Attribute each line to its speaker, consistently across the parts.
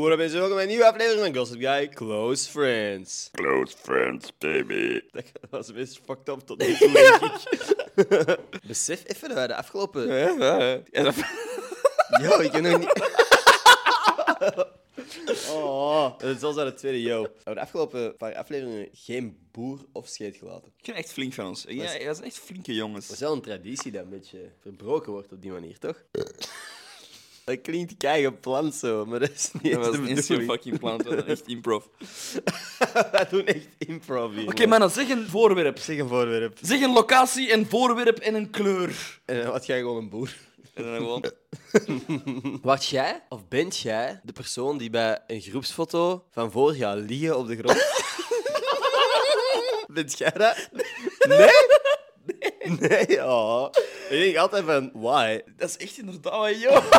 Speaker 1: What up mensen, welkom bij een nieuwe aflevering van Gossip Guy Close Friends.
Speaker 2: Close friends, baby.
Speaker 1: Dat was best fucked up tot nu toe, denk ik. Besef even dat wij de afgelopen... Yo, ik heb nog niet... Oh, dat is zelfs aan het tweede yo. We hebben de afgelopen paar afleveringen geen boer of scheet gelaten.
Speaker 2: Ik ben echt flink van ons. Ja, dat zijn echt flinke
Speaker 1: Dat
Speaker 2: jongens.
Speaker 1: is wel een traditie dat een beetje verbroken wordt op die manier, toch? Dat klinkt kei plan zo, maar dat is niet
Speaker 2: Dat
Speaker 1: eens de
Speaker 2: was instant
Speaker 1: bedoeling.
Speaker 2: fucking plan. Dat was echt improv. Oké,
Speaker 1: Wij doen echt improv hier.
Speaker 2: maar dan zeg een voorwerp.
Speaker 1: Zeg een voorwerp.
Speaker 2: Zeg een locatie, een voorwerp en een kleur.
Speaker 1: En dan word Eh, jij gewoon een boer.
Speaker 2: En dan gewoon...
Speaker 1: Word jij, of bent jij, de persoon die bij een groepsfoto van vorig jaar liggen op de grond? bent jij dat? Nee? Nee? Nee, oh. Ik denk altijd van, why?
Speaker 2: Dat is echt inderdaad wat, joh.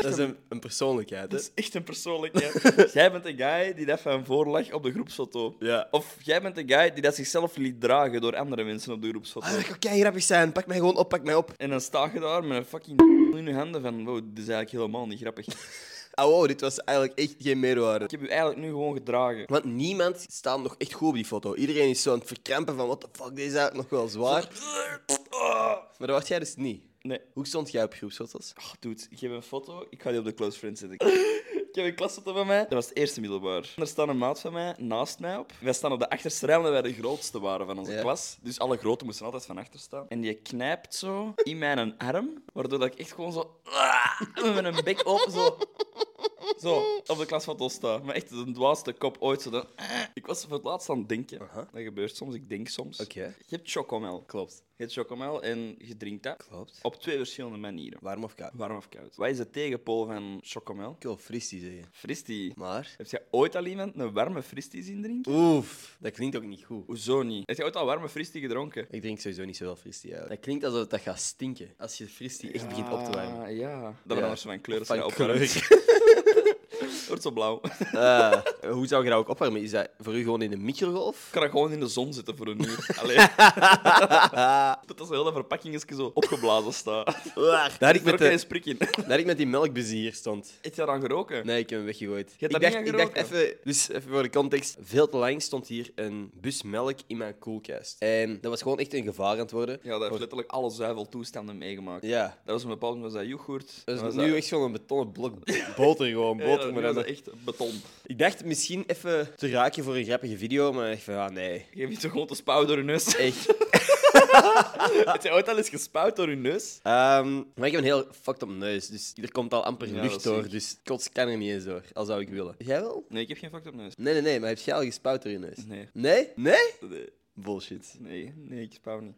Speaker 1: Dat is een, een persoonlijkheid, hè?
Speaker 2: Dat is echt een persoonlijkheid. jij bent de guy die dat van voor lag op de groepsfoto.
Speaker 1: Ja.
Speaker 2: Of jij bent de guy die dat zichzelf liet dragen door andere mensen op de groepsfoto.
Speaker 1: Ah, dat kan kei grappig zijn. Pak mij gewoon op, pak mij op.
Speaker 2: En dan sta je daar met een fucking in je handen van... Wow, dit is eigenlijk helemaal niet grappig.
Speaker 1: Ah, wow, dit was eigenlijk echt geen meerwaarde.
Speaker 2: Ik heb u eigenlijk nu gewoon gedragen.
Speaker 1: Want niemand staat nog echt goed op die foto. Iedereen is zo aan het verkrampen van, what the fuck, deze is eigenlijk nog wel zwaar. Maar dat was jij dus niet.
Speaker 2: Nee.
Speaker 1: Hoe stond jij op groepsfoto's?
Speaker 2: Oh, dude, ik heb een foto. Ik ga die op de close friends zetten. ik heb een klasfoto van mij. Dat was het eerste middelbaar. Daar staan een maat van mij naast mij op. Wij staan op de achterste rij, omdat wij de grootste waren van onze
Speaker 1: Ja.
Speaker 2: klas. Dus alle grote moesten altijd van achter staan. En die knijpt zo in mijn arm, waardoor dat ik echt gewoon zo... met een bek open zo... Zo, op de klasfoto sta. Maar echt de dwaaste kop ooit. Zo dan, ik was voor het laatst aan het denken.
Speaker 1: Aha.
Speaker 2: Dat gebeurt soms, ik denk soms.
Speaker 1: Oké.
Speaker 2: Je hebt chocomel.
Speaker 1: Klopt.
Speaker 2: Je hebt chocomel en je drinkt dat.
Speaker 1: Klopt.
Speaker 2: Op twee verschillende manieren.
Speaker 1: Warm of koud?
Speaker 2: Warm of koud? Wat is de tegenpool van chocomel?
Speaker 1: Ik wil fristie zeggen.
Speaker 2: Fristie.
Speaker 1: Maar...
Speaker 2: Heb jij ooit al iemand een warme fristie zien drinken?
Speaker 1: Oef, dat klinkt ook niet goed.
Speaker 2: Hoezo niet? Heb jij ooit al warme fristie gedronken?
Speaker 1: Ik drink sowieso niet zoveel fristie uit. Dat klinkt alsof dat gaat stinken als je fristie echt begint op te warmen.
Speaker 2: Ah, ja. Dat verandert zo mijn kleur als je
Speaker 1: Van
Speaker 2: dat opwarmt.
Speaker 1: kleur.
Speaker 2: Het wordt zo blauw. Ik
Speaker 1: Ah, hoe zou je dat ook opwarmen? Is dat voor u gewoon in een microgolf?
Speaker 2: kan dat gewoon in de zon zitten voor een uur. Allee. dat is heel dat verpakkingetje zo opgeblazen staat.
Speaker 1: Daar had ik
Speaker 2: Er
Speaker 1: met,
Speaker 2: ook geen
Speaker 1: de,
Speaker 2: sprik in.
Speaker 1: daar had ik met die melkbezier hier stond.
Speaker 2: Heb je daar aan geroken?
Speaker 1: Nee, ik heb hem weggegooid.
Speaker 2: hebt
Speaker 1: ik,
Speaker 2: daar
Speaker 1: dacht,
Speaker 2: niet aan
Speaker 1: ik dacht
Speaker 2: geroken?
Speaker 1: even, dus even voor de context. Veel te lang stond hier een bus melk in mijn koelkast. En dat was gewoon echt een gevaar aan het worden.
Speaker 2: Ja, daar heeft letterlijk alle zuiveltoestanden meegemaakt.
Speaker 1: Ja.
Speaker 2: Dat was een bepaald moment, was dat yoghurt.
Speaker 1: Dat
Speaker 2: was
Speaker 1: is Dus nu echt gewoon een betonnen blok boter, gewoon.
Speaker 2: Ja,
Speaker 1: Boter,
Speaker 2: nu
Speaker 1: maar
Speaker 2: was
Speaker 1: dan-
Speaker 2: dat echt beton.
Speaker 1: Ik dacht misschien even te raken voor een grappige video, maar ik van, ah, nee.
Speaker 2: Je hebt toch gewoon te spouwen door je neus?
Speaker 1: Echt.
Speaker 2: Heb je ooit al eens gespouwd door je neus?
Speaker 1: Ehm, maar ik heb een heel fucked up neus, dus er komt al amper
Speaker 2: Ja, dat
Speaker 1: lucht
Speaker 2: zie
Speaker 1: door.
Speaker 2: ik.
Speaker 1: Dus kots kan er niet eens door, al zou ik willen. Jij wel?
Speaker 2: Nee, ik heb geen fucked op neus.
Speaker 1: Nee, nee, nee, maar heb jij al gespouwd door je neus?
Speaker 2: Nee.
Speaker 1: Nee? Nee?
Speaker 2: Nee,
Speaker 1: Bullshit.
Speaker 2: nee, nee, ik spouw niet.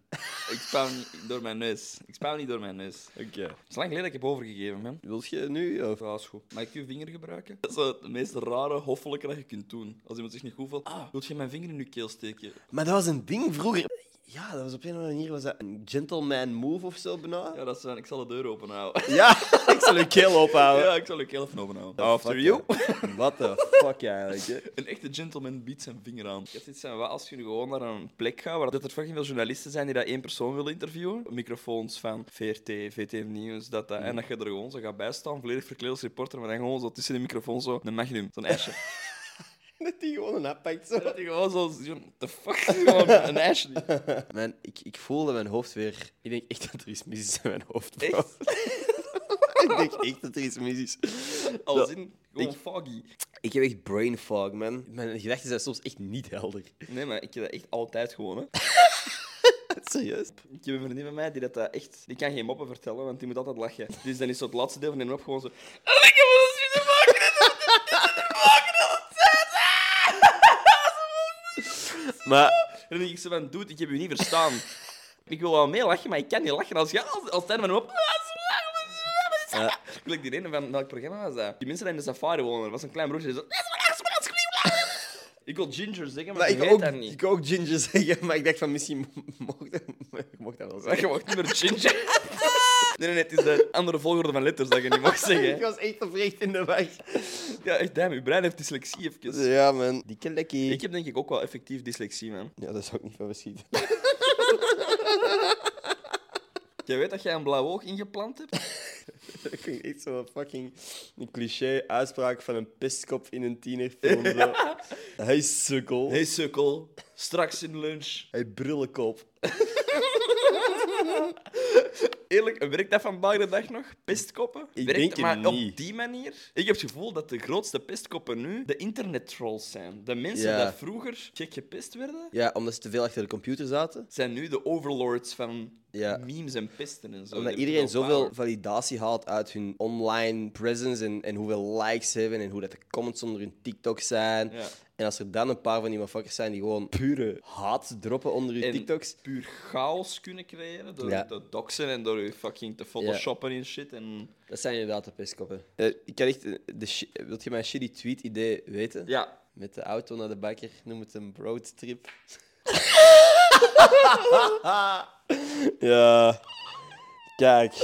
Speaker 2: Ik spouw niet door mijn neus. Ik spouw niet door mijn neus. Het
Speaker 1: Oké.
Speaker 2: is lang geleden dat ik heb overgegeven, man.
Speaker 1: Wil je nu? Of?
Speaker 2: Ja, is goed. Mag ik uw vinger gebruiken? Dat is wel het meest rare, hoffelijke dat je kunt doen. Als iemand zich niet goed voelt. Ah, wil je mijn vinger in je keel steken?
Speaker 1: Maar dat was een ding vroeger. Ja, dat was op een of andere manier was dat een gentleman move of zo bijna.
Speaker 2: Ja, dat is, eh, ik zal de deur openhouden.
Speaker 1: Ja, ik zal je keel ophouden.
Speaker 2: Ah, Ja, Oh, ik zal je keel even openhouden.
Speaker 1: Fuck,
Speaker 2: After you.
Speaker 1: hè. What the fuck eigenlijk, hè?
Speaker 2: Een echte gentleman biedt zijn vinger aan. Dat is zijn wat als je nu gewoon naar een plek gaat waar dat er fucking veel journalisten zijn die dat één persoon willen interviewen. Microfoons van VRT, VTM Nieuws, dat, dat. En dat je er gewoon zo gaat bijstaan, volledig verkleed als reporter, maar dan gewoon zo tussen de microfoon zo een magnum, zo'n ijsje.
Speaker 1: Dat die gewoon een appakt zo.
Speaker 2: dat je gewoon zo, zo'n- the fuck, gewoon een ijsje.
Speaker 1: Man, ik, ik voel dat mijn hoofd weer. Ik denk echt dat er iets mis is in mijn hoofd. bro.
Speaker 2: Echt?
Speaker 1: ik denk echt dat er iets mis is.
Speaker 2: Als
Speaker 1: Ja.
Speaker 2: in, gewoon foggy.
Speaker 1: Ik heb echt brain fog, man. Mijn gedachten zijn soms echt niet helder.
Speaker 2: Nee, maar ik heb dat echt altijd gewoon, hè.
Speaker 1: Serieus?
Speaker 2: Ik heb een vriendin van mij die dat, dat echt... Die kan geen moppen vertellen, want die moet altijd lachen. Dus dan is zo het laatste deel van die mop gewoon zo... En ik heb een zin te maken en dat
Speaker 1: Maar,
Speaker 2: En dan denk ik zo van, dude, ik heb u niet verstaan. Ik wil wel mee lachen, maar ik kan niet lachen. Als jij als, als tijd van Ah, op...
Speaker 1: Ja.
Speaker 2: Ik wil die ene van welk programma was dat? Die mensen die in de safari wonen, er was een klein broertje die zo... Ik wil ginger zeggen, maar,
Speaker 1: maar
Speaker 2: ik
Speaker 1: ik,
Speaker 2: weet
Speaker 1: ook,
Speaker 2: dat niet.
Speaker 1: ik ook ginger zeggen, maar ik dacht van misschien mocht dat, ik mocht dat wel
Speaker 2: Je
Speaker 1: zeggen.
Speaker 2: mag niet meer ginger. Nee, nee, nee, het is de andere volgorde van letters dat je niet mag
Speaker 1: Ik
Speaker 2: zeggen.
Speaker 1: was echt oprecht in de weg.
Speaker 2: Ja, echt, damn, je brein heeft dyslexie even.
Speaker 1: Ja, man. Die lekkie.
Speaker 2: Ik heb denk ik ook wel effectief dyslexie, man.
Speaker 1: Ja, dat zou ik niet van verschieten.
Speaker 2: Jij weet dat jij een blauw oog ingeplant hebt?
Speaker 1: Dat klinkt echt zo'n fucking een cliché uitspraak van een pestkop in een tienerfilm. zo. Hij is sukkel.
Speaker 2: Hé, sukkel. Straks in lunch.
Speaker 1: Hij brillenkop.
Speaker 2: Eerlijk, werkt dat vandaag de dag nog? Pestkoppen?
Speaker 1: Ik
Speaker 2: werkt
Speaker 1: denk het
Speaker 2: maar
Speaker 1: niet.
Speaker 2: op die manier? Ik heb het gevoel dat de grootste pestkoppen nu de internettrolls zijn. De mensen
Speaker 1: Ja.
Speaker 2: die vroeger gek gepest werden,
Speaker 1: Ja, omdat ze te veel achter de computer zaten.
Speaker 2: zijn nu de overlords van
Speaker 1: Ja.
Speaker 2: memes en pesten en zo.
Speaker 1: Omdat
Speaker 2: Die
Speaker 1: iedereen
Speaker 2: hebben
Speaker 1: zoveel
Speaker 2: power.
Speaker 1: validatie haalt uit hun online presence en, en hoeveel likes ze hebben en hoe dat de comments onder hun TikTok zijn.
Speaker 2: Ja.
Speaker 1: En als er dan een paar van die motherfuckers zijn die gewoon pure haat droppen onder hun
Speaker 2: En
Speaker 1: TikToks.
Speaker 2: puur chaos kunnen creëren door
Speaker 1: Ja.
Speaker 2: te doxen en door je fucking te photoshoppen en shit. En...
Speaker 1: Dat zijn inderdaad de pestkoppen. Eh, ik kan echt... eh, De, shi- wilt je mijn shitty tweet-idee weten?
Speaker 2: Ja.
Speaker 1: Met de auto naar de bakker, noem het een roadtrip. ja. Kijk,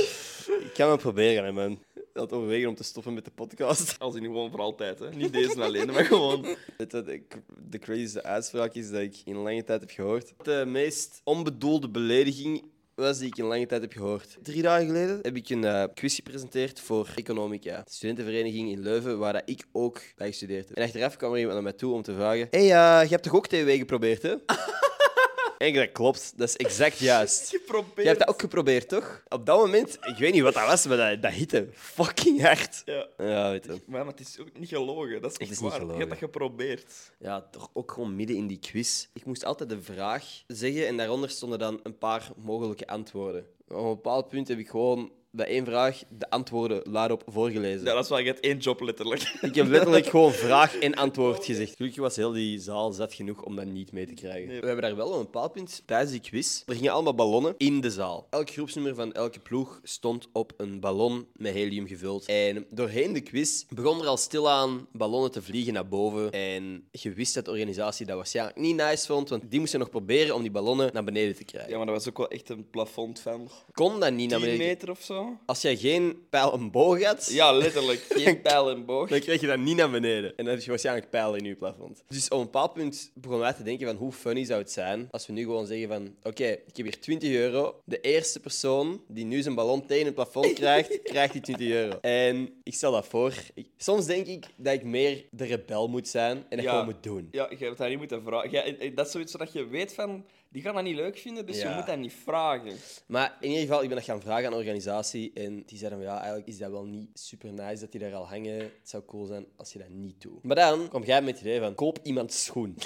Speaker 1: ik kan het proberen, hè, man. Ik had overwegen om te stoppen met de podcast.
Speaker 2: Als in gewoon voor altijd, hè. Niet deze alleen, maar gewoon...
Speaker 1: Weet je wat de, de crazyste uitspraak is dat ik in lange tijd heb gehoord? De meest onbedoelde belediging was die ik in lange tijd heb gehoord. Drie dagen geleden heb ik een eh, quiz gepresenteerd voor Economica, de studentenvereniging in Leuven, waar dat ik ook bij gestudeerd heb. En achteraf kwam er iemand naar mij toe om te vragen: Hé, hey, eh, je hebt toch ook TW geprobeerd, hè? en ik, dat klopt, dat is exact juist.
Speaker 2: Geprobeerd.
Speaker 1: Je hebt dat ook geprobeerd, toch? Op dat moment, ik weet niet wat dat was, maar dat, dat hitte fucking hard.
Speaker 2: Ja.
Speaker 1: Ja, weet je.
Speaker 2: Maar het is ook niet gelogen. Dat is echt
Speaker 1: is niet
Speaker 2: waar. Je
Speaker 1: gelogen.
Speaker 2: hebt dat geprobeerd.
Speaker 1: Ja, toch ook gewoon midden in die quiz. Ik moest altijd de vraag zeggen en daaronder stonden dan een paar mogelijke antwoorden. Op een bepaald punt heb ik gewoon bij één vraag de antwoorden luidop voorgelezen.
Speaker 2: Ja, dat is wel, je hebt één job letterlijk.
Speaker 1: Ik heb letterlijk gewoon vraag en antwoord gezegd. Gelukkig was heel die zaal zat genoeg om dat niet mee te krijgen.
Speaker 2: Nee.
Speaker 1: We hebben daar wel op een bepaald punt tijdens die quiz. Er gingen allemaal ballonnen in de zaal. Elk groepsnummer van elke ploeg stond op een ballon met helium gevuld. En doorheen de quiz begon er al stilaan ballonnen te vliegen naar boven. En je wist dat de organisatie dat waarschijnlijk niet nice vond, want die moesten nog proberen om die ballonnen naar beneden te krijgen.
Speaker 2: Ja, maar dat was ook wel echt een plafond van
Speaker 1: Kon dat niet naar
Speaker 2: 10
Speaker 1: beneden.
Speaker 2: meter of zo.
Speaker 1: Als jij geen pijl en boog had,
Speaker 2: Ja, letterlijk. Geen pijl en boog.
Speaker 1: Dan kreeg je dat niet naar beneden. En dan is je waarschijnlijk pijl in je plafond. Dus op een bepaald punt begonnen wij te denken van hoe funny zou het zijn als we nu gewoon zeggen van oké, ik heb hier 20 euro. De eerste persoon die nu zijn ballon tegen het plafond krijgt, krijgt die 20 euro. En ik stel dat voor. Ik- soms denk ik dat ik meer de rebel moet zijn en dat
Speaker 2: Ja.
Speaker 1: gewoon moet doen.
Speaker 2: Ja, je hebt dat niet moeten vragen. Ja, en- en dat is zoiets dat je weet van, die gaan dat niet leuk vinden, dus
Speaker 1: Ja.
Speaker 2: je moet dat niet vragen.
Speaker 1: Maar in ieder geval, ik ben dat gaan vragen aan de organisatie. En die zeiden van ja, eigenlijk is dat wel niet super nice dat die daar al hangen. Het zou cool zijn als je dat niet doet. Maar dan kwam jij met het idee van koop iemands schoen.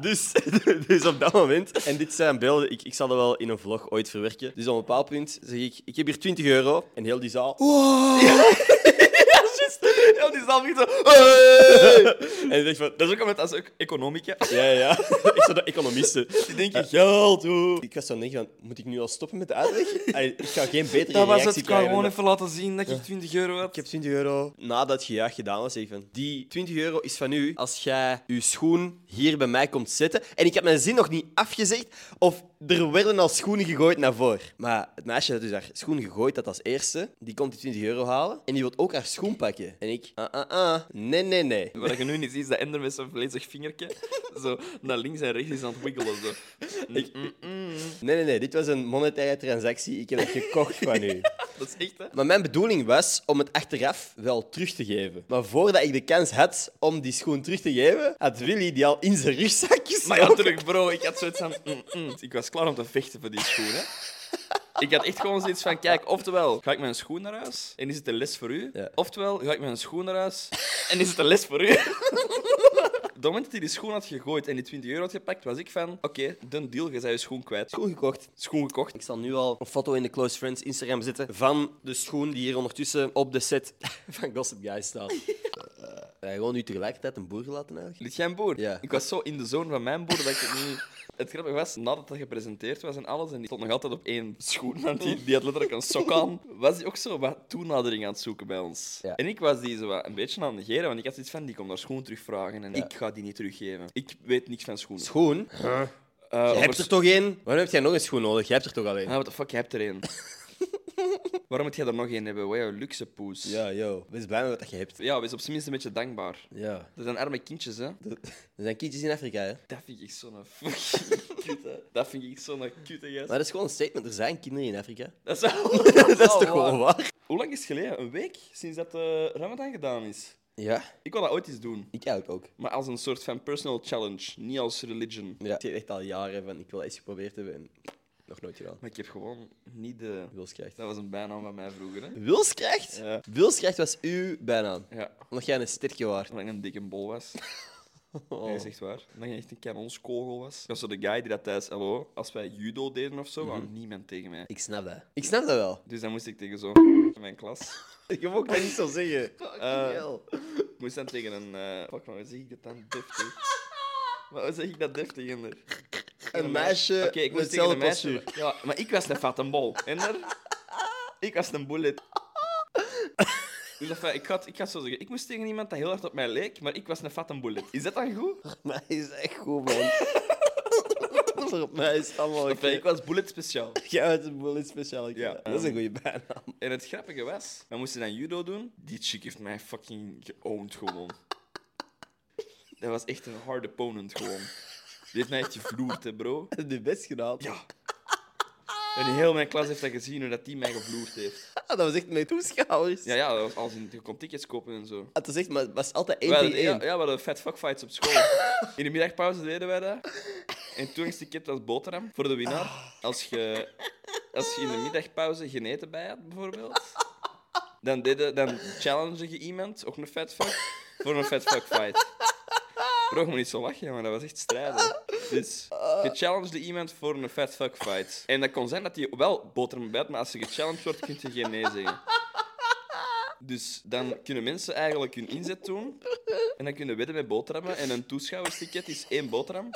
Speaker 1: dus, dus op dat moment. En dit zijn beelden, ik, ik zal dat wel in een vlog ooit verwerken. Dus op een bepaald punt zeg ik: Ik heb hier 20 euro. En heel die zaal.
Speaker 2: Ja, die zal niet zo... "Hey!"
Speaker 1: En ik dacht van.
Speaker 2: Dat is ook omdat dat is ook economica.
Speaker 1: Ja, ja, ja. ik zou de economisten.
Speaker 2: Die denken, geld, hoe.
Speaker 1: Ik was zo aan het denken: van, Moet ik nu al stoppen met de uitleg? Ai, Ik ga geen betere
Speaker 2: Dat was
Speaker 1: reactie
Speaker 2: het.
Speaker 1: krijgen
Speaker 2: Ik kan
Speaker 1: dan
Speaker 2: gewoon
Speaker 1: dat.
Speaker 2: even laten zien dat je 20 euro had.
Speaker 1: Ik heb 20 euro. Nadat je jaag gedaan was, zeg ik van... Die 20 euro is van u als jij je schoen hier bij mij komt zetten. En ik heb mijn zin nog niet afgezegd of er werden al schoenen gegooid naar voren. Maar het meisje dat dus haar schoen gegooid had als eerste, die komt die 20 euro halen en die wil ook haar schoen pakken. En ik... Ah, ah, ah. Nee, nee, nee.
Speaker 2: Wat je nu niet ziet, is dat Ender met zijn vlezig vingertje zo naar links en rechts is aan het wiggelen. Zo.
Speaker 1: Ik- Nee, nee, nee. Dit was een monetaire transactie. Ik heb het gekocht van u.
Speaker 2: Dat is echt, hè?
Speaker 1: Maar mijn bedoeling was om het achteraf wel terug te geven. Maar voordat ik de kans had om die schoen terug te geven, had Willy die al in zijn rugzak gestoken.
Speaker 2: Maar ja, terug, bro. Ik had zoiets van... mm, mm. Ik was klaar om te vechten voor die schoen, hè. Ik had echt gewoon zoiets van, kijk, oftewel ga ik met een schoen naar huis en is het een les voor u,
Speaker 1: Ja.
Speaker 2: oftewel ga ik met een schoen naar huis en is het een les voor u. Op het moment dat hij die schoen had gegooid en die 20 euro had gepakt, was ik van, oké, dun deal, je zei je schoen kwijt.
Speaker 1: Schoen gekocht.
Speaker 2: Schoen gekocht.
Speaker 1: Ik zal nu al een foto in de Close Friends Instagram zetten van de schoen die hier ondertussen op de set van Gossip Guy staat. Ja, gewoon nu tegelijkertijd een boer gelaten eigenlijk.
Speaker 2: Liet jij een boer?
Speaker 1: Ja.
Speaker 2: Ik was zo in de zone van mijn boer dat ik het niet... Het grappige was, nadat dat gepresenteerd was en alles, en die stond nog altijd op één schoen, want die, die had letterlijk een sok aan, was hij ook zo wat toenadering aan het zoeken bij ons.
Speaker 1: Ja.
Speaker 2: En ik was die zo wat een beetje aan het negeren, want ik had iets van, die komt haar schoen terugvragen en
Speaker 1: Ja.
Speaker 2: ik ga die niet teruggeven. Ik weet niks van schoenen.
Speaker 1: Schoen?
Speaker 2: Eh,
Speaker 1: Je
Speaker 2: over
Speaker 1: hebt er toch één? Waarom heb jij nog een schoen nodig? Je hebt er toch alleen?
Speaker 2: Ah, what the fuck, je hebt er een. Waarom moet jij er nog één hebben? Wat jouw luxe poes.
Speaker 1: Ja, yo. Wees blij met wat je hebt.
Speaker 2: ja, wees op zijn minst een beetje dankbaar.
Speaker 1: Ja.
Speaker 2: Dat zijn arme kindjes, hè?
Speaker 1: Er zijn kindjes in Afrika, hè.
Speaker 2: Dat vind ik zo'n fucking kutte. Dat vind ik zo'n kutte, gast.
Speaker 1: Maar dat is gewoon een statement. Er zijn kinderen in Afrika. Oh,
Speaker 2: Dat is, wel-
Speaker 1: dat is
Speaker 2: wel
Speaker 1: toch gewoon waar?
Speaker 2: Hoe lang is het geleden? Een week sinds dat eh Ramadan gedaan is.
Speaker 1: Ja.
Speaker 2: Ik wil dat ooit eens doen.
Speaker 1: Ik eigenlijk ook.
Speaker 2: Maar als een soort van personal challenge, niet als religion.
Speaker 1: Ja. Ik zeg echt al jaren van, ik wil dat eens geprobeerd hebben en nog nooit gedaan.
Speaker 2: Maar ik heb gewoon niet de...
Speaker 1: Wilskrijgt.
Speaker 2: Dat was een bijnaam van mij vroeger, hè?
Speaker 1: Wilskrijgt?
Speaker 2: Ja.
Speaker 1: Wilskrijgt was uw bijnaam.
Speaker 2: Ja,
Speaker 1: Omdat jij een sterkje waard.
Speaker 2: omdat ik een dikke bol was.
Speaker 1: Oh.
Speaker 2: Nee, dat is echt waar. Omdat je echt een kanonskogel was. Ik was zo de guy die dat tijdens LO, als wij judo deden of zo, kwam
Speaker 1: Mhm.
Speaker 2: niemand tegen mij.
Speaker 1: Ik snap dat. Ik snap dat wel.
Speaker 2: Dus dan moest ik tegen zo in mijn klas.
Speaker 1: Ik heb ook dat niet zo zeggen.
Speaker 2: Eh, Ik moest dan tegen een. eh fuck, maar hoe zeg ik dat dan deftig? Maar hoe zeg ik dat deftig, Ender?
Speaker 1: Een meisje
Speaker 2: Oké, ik
Speaker 1: met
Speaker 2: moest tegen een
Speaker 1: hetzelfde
Speaker 2: meisje.
Speaker 1: postuur.
Speaker 2: Ja, maar ik was een fatte bol, Ender. Ik was een bullet. Dus dat, ik, ga, het- ik ga het zo zeggen. Ik moest tegen iemand dat heel hard op mij leek, maar ik was een fatte bullet. Is dat dan goed?
Speaker 1: Maar hij is echt goed, man. Voor mij is het allemaal
Speaker 2: Of, eh, ik
Speaker 1: oké.
Speaker 2: was bullet speciaal.
Speaker 1: Jij bent een bullet speciaal.
Speaker 2: Ja.
Speaker 1: Dat is een goede bijnaam.
Speaker 2: En het grappige was, we moesten dan judo doen. Die chick heeft mij fucking geowned gewoon. Dat was echt een hard opponent gewoon. Die heeft mij echt gevloerd, hè, bro.
Speaker 1: De best gedaan.
Speaker 2: Ja. En heel mijn klas heeft dat gezien, hoe dat die mij gevloerd heeft.
Speaker 1: Dat was echt met toeschouwers.
Speaker 2: Ja, ja, dat was als in, je kon tickets kopen en zo.
Speaker 1: Het was echt, maar het was altijd
Speaker 2: We
Speaker 1: één
Speaker 2: hadden-
Speaker 1: tegen
Speaker 2: ja,
Speaker 1: één.
Speaker 2: ja, we hadden fat fuck fights op school. In de middagpauze deden wij dat. En toen is de kip als boterham voor de
Speaker 1: Ah.
Speaker 2: winnaar. Als je, als je in de middagpauze geen eten bij had, bijvoorbeeld, dan, deden, dan challenge je iemand, ook een fat fuck, voor een fat fuck fight. Bro, je moet niet zo lachen, maar dat was echt strijden. Dus je challengede iemand voor een fat fuck fight. En dat kon zijn dat hij wel boterham bij had, maar als je gechallenged wordt, kun je geen nee zeggen. Dus dan kunnen mensen eigenlijk hun inzet doen. En dan kunnen wedden met boterhammen. En een toeschouwersticket is één boterham.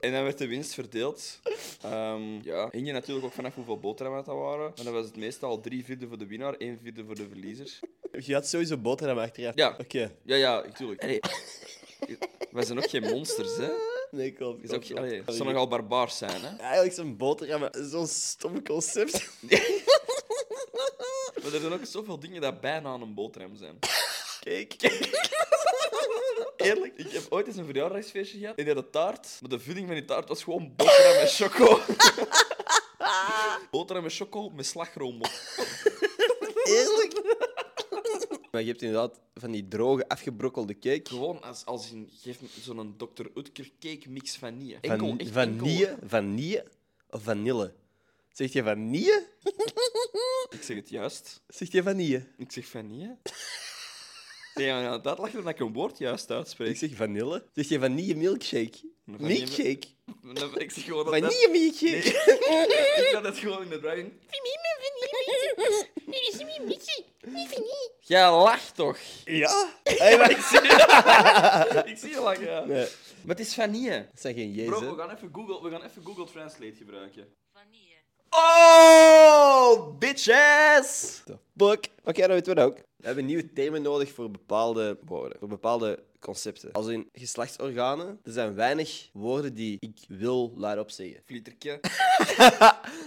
Speaker 2: En dan werd de winst verdeeld. Ehm, ja, hing je natuurlijk ook vanaf hoeveel boterhammen dat waren. Maar dan was het meestal drie vierde voor de winnaar, één vierde voor de verliezer.
Speaker 1: Je had sowieso boterham achteraf.
Speaker 2: Ja.
Speaker 1: Oké.
Speaker 2: Ja, ja, natuurlijk. Allee. Wij zijn ook geen monsters, hè?
Speaker 1: Nee, klopt.
Speaker 2: Is ook,
Speaker 1: klopt,
Speaker 2: ge-
Speaker 1: klopt.
Speaker 2: allee, het zou nogal barbaars zijn, hè?
Speaker 1: Eigenlijk zo'n boterham, maar zo'n stom concept.
Speaker 2: Maar er zijn ook zoveel dingen dat bijna aan een boterham zijn.
Speaker 1: Kijk.
Speaker 2: Eerlijk, ik heb ooit eens een verjaardagsfeestje gehad. En die hadden taart, maar de vulling van die taart was gewoon boterham met choco. boterham met choco met slagroom op.
Speaker 1: Eerlijk. Maar je hebt inderdaad van die droge, afgebrokkelde cake.
Speaker 2: Gewoon als, als in, geef me zo'n Dr. Utker cake mix vanille.
Speaker 1: Van,
Speaker 2: Enkel, echt
Speaker 1: vanille,
Speaker 2: enkel.
Speaker 1: vanille of vanille? Zegt je vanille?
Speaker 2: Ik zeg het juist.
Speaker 1: Zegt je vanille?
Speaker 2: Ik zeg vanille. Nee, maar ja, dat lag er dat ik een woord juist uitspreek.
Speaker 1: Ik zeg vanille. Zegt je vanille milkshake?
Speaker 2: Een vanille-
Speaker 1: Milkshake?
Speaker 2: Ik zeg gewoon dat dat-
Speaker 1: Vanille milkshake?
Speaker 2: Ik had het gewoon in de brein. Jij lacht toch?
Speaker 1: Ja. Hey, maar ik zeg...
Speaker 2: Ik zie je lachen.
Speaker 1: Nee,
Speaker 2: Maar het is vanille.
Speaker 1: dat zijn geen j's,
Speaker 2: Bro, we
Speaker 1: hè.
Speaker 2: gaan even Google, we gaan even Google Translate gebruiken.
Speaker 3: Vanille.
Speaker 2: Oh, bitches!
Speaker 1: Fuck. Oké, dan weten we dat ook. We hebben nieuwe termen nodig voor bepaalde woorden, voor bepaalde concepten. Als in geslachtsorganen, er zijn weinig woorden die ik wil luidop zeggen.
Speaker 2: Flieterke.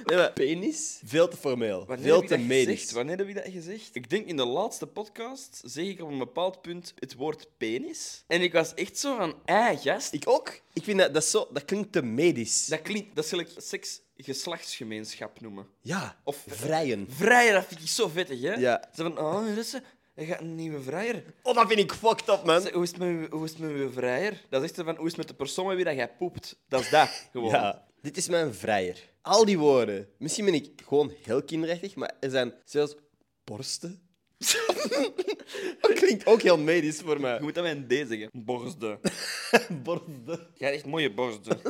Speaker 1: Nee, maar penis? Veel te formeel. veel te medisch.
Speaker 2: Wanneer heb ik dat gezegd? Ik denk in de laatste podcast zeg ik op een bepaald punt het woord penis. En ik was echt zo van, ei, gast.
Speaker 1: Ik ook. Ik vind dat, dat, zo, dat klinkt te medisch.
Speaker 2: Dat klinkt, dat zal ik seks geslachtsgemeenschap noemen.
Speaker 1: Ja.
Speaker 2: Of-
Speaker 1: vrijen.
Speaker 2: Vrijer, dat vind ik zo vettig, hè?
Speaker 1: Ja.
Speaker 2: Ze van, oh, Russen, je gaat een nieuwe vrijer.
Speaker 1: Oh, dat vind ik fucked up, man.
Speaker 2: Zeg, hoe, is het met, uw- hoe is het met uw vrijer? Dat is echt van, hoe is het met de persoon met wie dat jij poept? Dat is dat, gewoon.
Speaker 1: Ja. Dit is mijn vrijer. Al die woorden. Misschien ben ik gewoon heel kinderachtig, maar er zijn zelfs borsten. dat klinkt ook heel medisch voor
Speaker 2: Je
Speaker 1: mij.
Speaker 2: moet dat met een D zeggen. Borsten.
Speaker 1: Borsten.
Speaker 2: Jij hebt echt mooie borsten.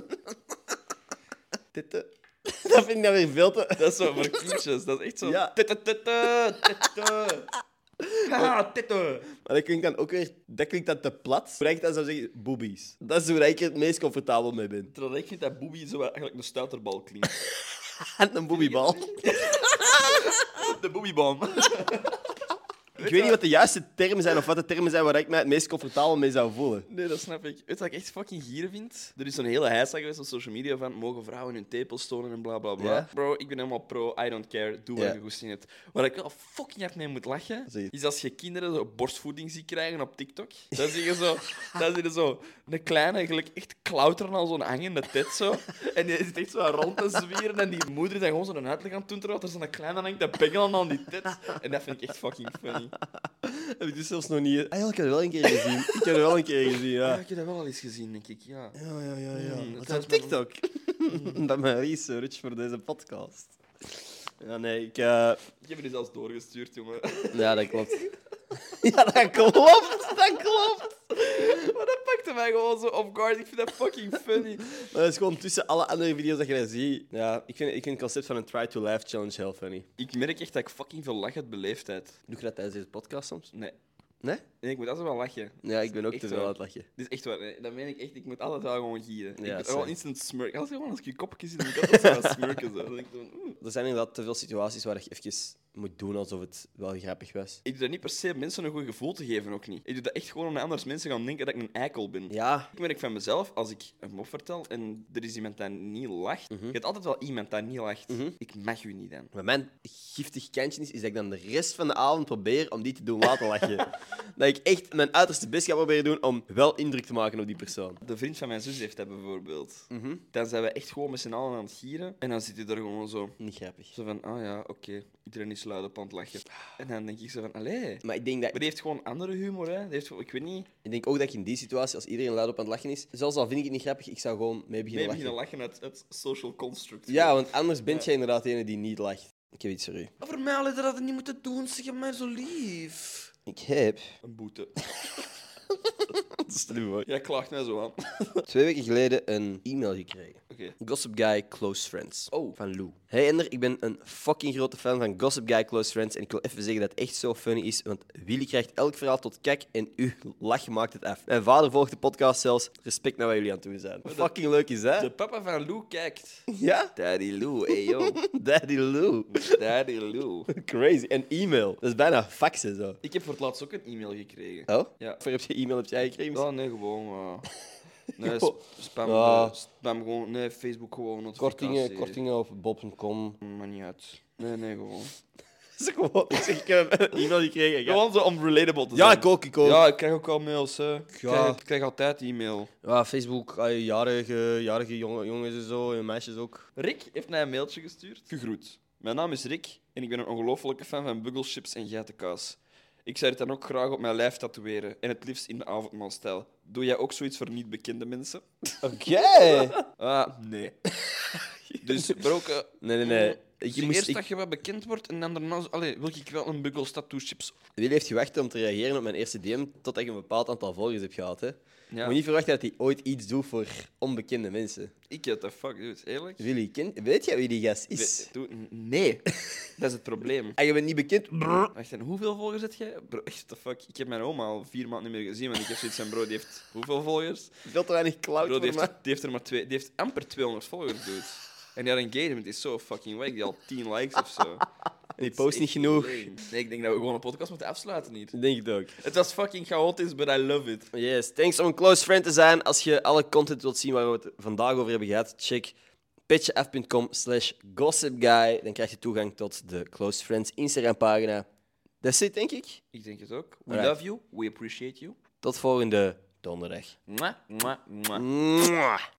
Speaker 1: Titten. Dat vind ik dan weer veel te...
Speaker 2: Dat is zo voor kindjes. Dat is echt zo...
Speaker 1: Ja.
Speaker 2: Tette, tette, tette. Haha, tette.
Speaker 1: Maar dat klinkt dan ook weer... Dat klinkt dan te plat. Hoe ik dan zou zeggen, boobies. Dat is hoe ik er het meest comfortabel mee ben.
Speaker 2: Terwijl ik vind dat boobie zo eigenlijk een stuiterbal klinkt.
Speaker 1: En een boobiebal.
Speaker 2: De boobiebal.
Speaker 1: Ik weet niet wat de juiste termen zijn of wat de termen zijn waar ik mij het meest comfortabel mee zou voelen.
Speaker 2: Nee, dat snap ik. Weet je wat ik echt fucking gier vind? Er is zo'n hele heisa geweest op social media van mogen vrouwen hun tepels tonen en bla bla bla.
Speaker 1: Ja.
Speaker 2: Bro, ik ben helemaal pro, I don't care, doe wat
Speaker 1: Ja.
Speaker 2: je goed in hebt. Waar ik wel fucking hard mee moet lachen,
Speaker 1: Zeg het.
Speaker 2: is als je kinderen zo borstvoeding ziet krijgen op TikTok. Dan zie je zo, dan zie je zo een kleine, gelijk echt klauteren aan zo'n hangende tet zo. En die zit echt zo aan rond te zwieren en die moeder is dan gewoon zo'n uitleg aan het doen terwijl er zo'n kleine hangt te bengelen aan die tet. En dat vind ik echt fucking funny.
Speaker 1: Heb ik dus zelfs nog niet... Ah, ja, ik heb het wel een keer gezien. Ik heb het wel een keer gezien,
Speaker 2: Ja,
Speaker 1: ja.
Speaker 2: ik heb dat wel al eens gezien, denk ik, ja.
Speaker 1: Ja, ja, ja,
Speaker 2: Hmm,
Speaker 1: ja. Wat
Speaker 2: dat is
Speaker 1: is
Speaker 2: mijn-
Speaker 1: TikTok? Dat is mijn research voor deze podcast. Ja, nee, ik... eh,
Speaker 2: Ik heb er dus zelfs doorgestuurd, jongen.
Speaker 1: Ja, dat klopt. Ja, dat klopt. Dat klopt.
Speaker 2: Maar dat pakte mij gewoon zo off guard. Ik vind dat fucking funny.
Speaker 1: Maar dat is gewoon tussen alle andere video's dat je dat ziet. Ja, ik vind, ik vind het concept van een try to laugh challenge heel funny.
Speaker 2: Ik merk echt dat ik fucking veel lach uit beleefdheid.
Speaker 1: Doe je dat tijdens deze podcast soms?
Speaker 2: Nee.
Speaker 1: Nee?
Speaker 2: Nee, ik moet altijd wel lachen.
Speaker 1: Ja, ik ben ook
Speaker 2: Echt
Speaker 1: te veel
Speaker 2: waar.
Speaker 1: aan het lachen.
Speaker 2: Dit is echt waar. Nee, dat meen ik echt. Ik moet altijd wel gewoon gieren.
Speaker 1: Ja,
Speaker 2: ik ben
Speaker 1: same.
Speaker 2: wel instant smurken. Als ik gewoon als ik je kopje zie, dan moet ik altijd zo gaan smurken. Zo. Dan denk ik, zo, oeh.
Speaker 1: Er zijn inderdaad te veel situaties waar je even moet doen alsof het wel grappig was.
Speaker 2: ik doe dat niet per se om mensen een goed gevoel te geven, ook niet. Ik doe dat echt gewoon om naar anders mensen gaan denken dat ik een eikel ben.
Speaker 1: Ja.
Speaker 2: Ik merk van mezelf, als ik een mop vertel en er is iemand die niet lacht,
Speaker 1: Mhm.
Speaker 2: je hebt altijd wel iemand die niet lacht. Ik mag u niet dan.
Speaker 1: Wat mijn giftig kantje is, is dat ik dan de rest van de avond probeer om die te doen laten lachen. dat ik echt mijn uiterste best ga proberen doen om wel indruk te maken op die persoon.
Speaker 2: De vriend van mijn zus heeft dat bijvoorbeeld.
Speaker 1: Mhm.
Speaker 2: Dan zijn we echt gewoon met z'n allen aan het gieren. En dan zit hij er gewoon zo.
Speaker 1: Niet grappig.
Speaker 2: Zo van, ah ja, oké. Iedereen is luid op aan het lachen. En dan denk ik zo van, allee.
Speaker 1: Maar ik denk, dat,
Speaker 2: Maar die heeft gewoon andere humor, hè. Die heeft, gewoon- ik weet niet,
Speaker 1: ik denk ook dat je in die situatie, als iedereen luid op aan het lachen is, zelfs al vind ik het niet grappig, ik zou gewoon mee
Speaker 2: nee,
Speaker 1: beginnen
Speaker 2: beginnen
Speaker 1: lachen.
Speaker 2: lachen uit het social construct.
Speaker 1: Ja, want anders ben jij inderdaad de ene die niet lacht. Ik heb iets voor u.
Speaker 2: Voor mij hadden dat niet moeten doen, zeg maar zo lief.
Speaker 1: Ik heb...
Speaker 2: Een boete.
Speaker 1: Slim hoor.
Speaker 2: Jij klaagt mij zo aan. Oké.
Speaker 1: Twee weken geleden een e-mail gekregen. Gossip Guy Close Friends.
Speaker 2: Oh.
Speaker 1: Van Lou. Hey Ender, ik ben een fucking grote fan van Gossip Guy Close Friends. En ik wil even zeggen dat het echt zo funny is. Want Willy krijgt elk verhaal tot kijk en uw lach maakt het af. Mijn vader volgt de podcast zelfs. Respect naar waar jullie aan toe zijn. fucking leuk is Oh, dat?
Speaker 2: De papa van Lou kijkt.
Speaker 1: Ja?
Speaker 2: Daddy Lou, hey yo.
Speaker 1: Daddy Lou.
Speaker 2: Daddy Lou.
Speaker 1: Crazy. En e-mail. Dat is bijna faxen zo.
Speaker 2: Ik heb voor het laatst ook een e-mail gekregen.
Speaker 1: Oh?
Speaker 2: Ja.
Speaker 1: Voor heb je e-mail heb jij gekregen?
Speaker 2: Ja, nee, gewoon. eh, nee,
Speaker 1: Gewoon.
Speaker 2: sp- spam,
Speaker 1: Ja.
Speaker 2: eh, spam gewoon. Nee, Facebook gewoon. notificatie.
Speaker 1: Kortingen, kortingen op bob.com.
Speaker 2: Maar niet uit. Nee, nee, gewoon.
Speaker 1: Ze gewoon, ik zeg, ik heb een e-mail gekregen. Ja,
Speaker 2: Gewoon zo om relatable te
Speaker 1: ja
Speaker 2: zijn.
Speaker 1: ik ook, ik ook.
Speaker 2: Ja, ik krijg ook al mails. Hè. Ik, krijg, ik krijg altijd e-mail.
Speaker 1: Ja, Facebook, eh, jarige, jarige jongen, jongens en zo, en meisjes ook.
Speaker 2: Rick heeft mij een mailtje gestuurd. Gegroet. Mijn naam is Rick en ik ben een ongelofelijke fan van buggelchips en geitenkaas. Ik zou het dan ook graag op mijn lijf tatoeëren en het liefst in de avondmaalstijl. Doe jij ook zoiets voor niet bekende mensen?
Speaker 1: Oké.
Speaker 2: Ah, nee. dus broken,
Speaker 1: Nee, nee, nee. Ik
Speaker 2: Dus
Speaker 1: moest,
Speaker 2: eerst
Speaker 1: ik,
Speaker 2: dat je wat bekend wordt en dan daarna... zo- Allee, wil ik wel een buggels tattoo chips?
Speaker 1: Willy heeft gewacht om te reageren op mijn eerste DM tot ik een bepaald aantal volgers heb gehad. Hè.
Speaker 2: Ja.
Speaker 1: Moet niet verwachten dat hij ooit iets doet voor onbekende mensen.
Speaker 2: Ik had dat fuck, dude. Eerlijk?
Speaker 1: Willy, ken, weet jij wie die gast is?
Speaker 2: We- doe- Nee. dat is het probleem.
Speaker 1: En je bent niet bekend? Brrr.
Speaker 2: Wacht, en hoeveel volgers heb jij? Bro, echt the fuck. Ik heb mijn oma al vier maanden niet meer gezien, want ik heb zoiets van, bro, die heeft hoeveel volgers?
Speaker 1: Veel te weinig cloud
Speaker 2: Bro,
Speaker 1: voor
Speaker 2: die heeft,
Speaker 1: mij.
Speaker 2: die heeft er maar twee... Die heeft amper 200 volgers, dude. En haar engagement is zo fucking weg. Die al 10 likes of zo.
Speaker 1: En die
Speaker 2: Dat is
Speaker 1: post
Speaker 2: echt
Speaker 1: niet genoeg.
Speaker 2: lame. Nee, ik denk dat we gewoon een podcast moeten afsluiten hier.
Speaker 1: Ik Denk het ook.
Speaker 2: Het was fucking chaotisch, but I love it.
Speaker 1: Yes, thanks om een close friend te zijn. Als je alle content wilt zien waar we het vandaag over hebben gehad, check petjeaf.com slash gossipguy. Dan krijg je toegang tot de Close Friends Instagram pagina. That's it, denk ik.
Speaker 2: Ik denk het ook. We
Speaker 1: Alright.
Speaker 2: love you. We appreciate you.
Speaker 1: Tot volgende donderdag.
Speaker 2: Mwah, mwah, mwah.
Speaker 1: Mwah.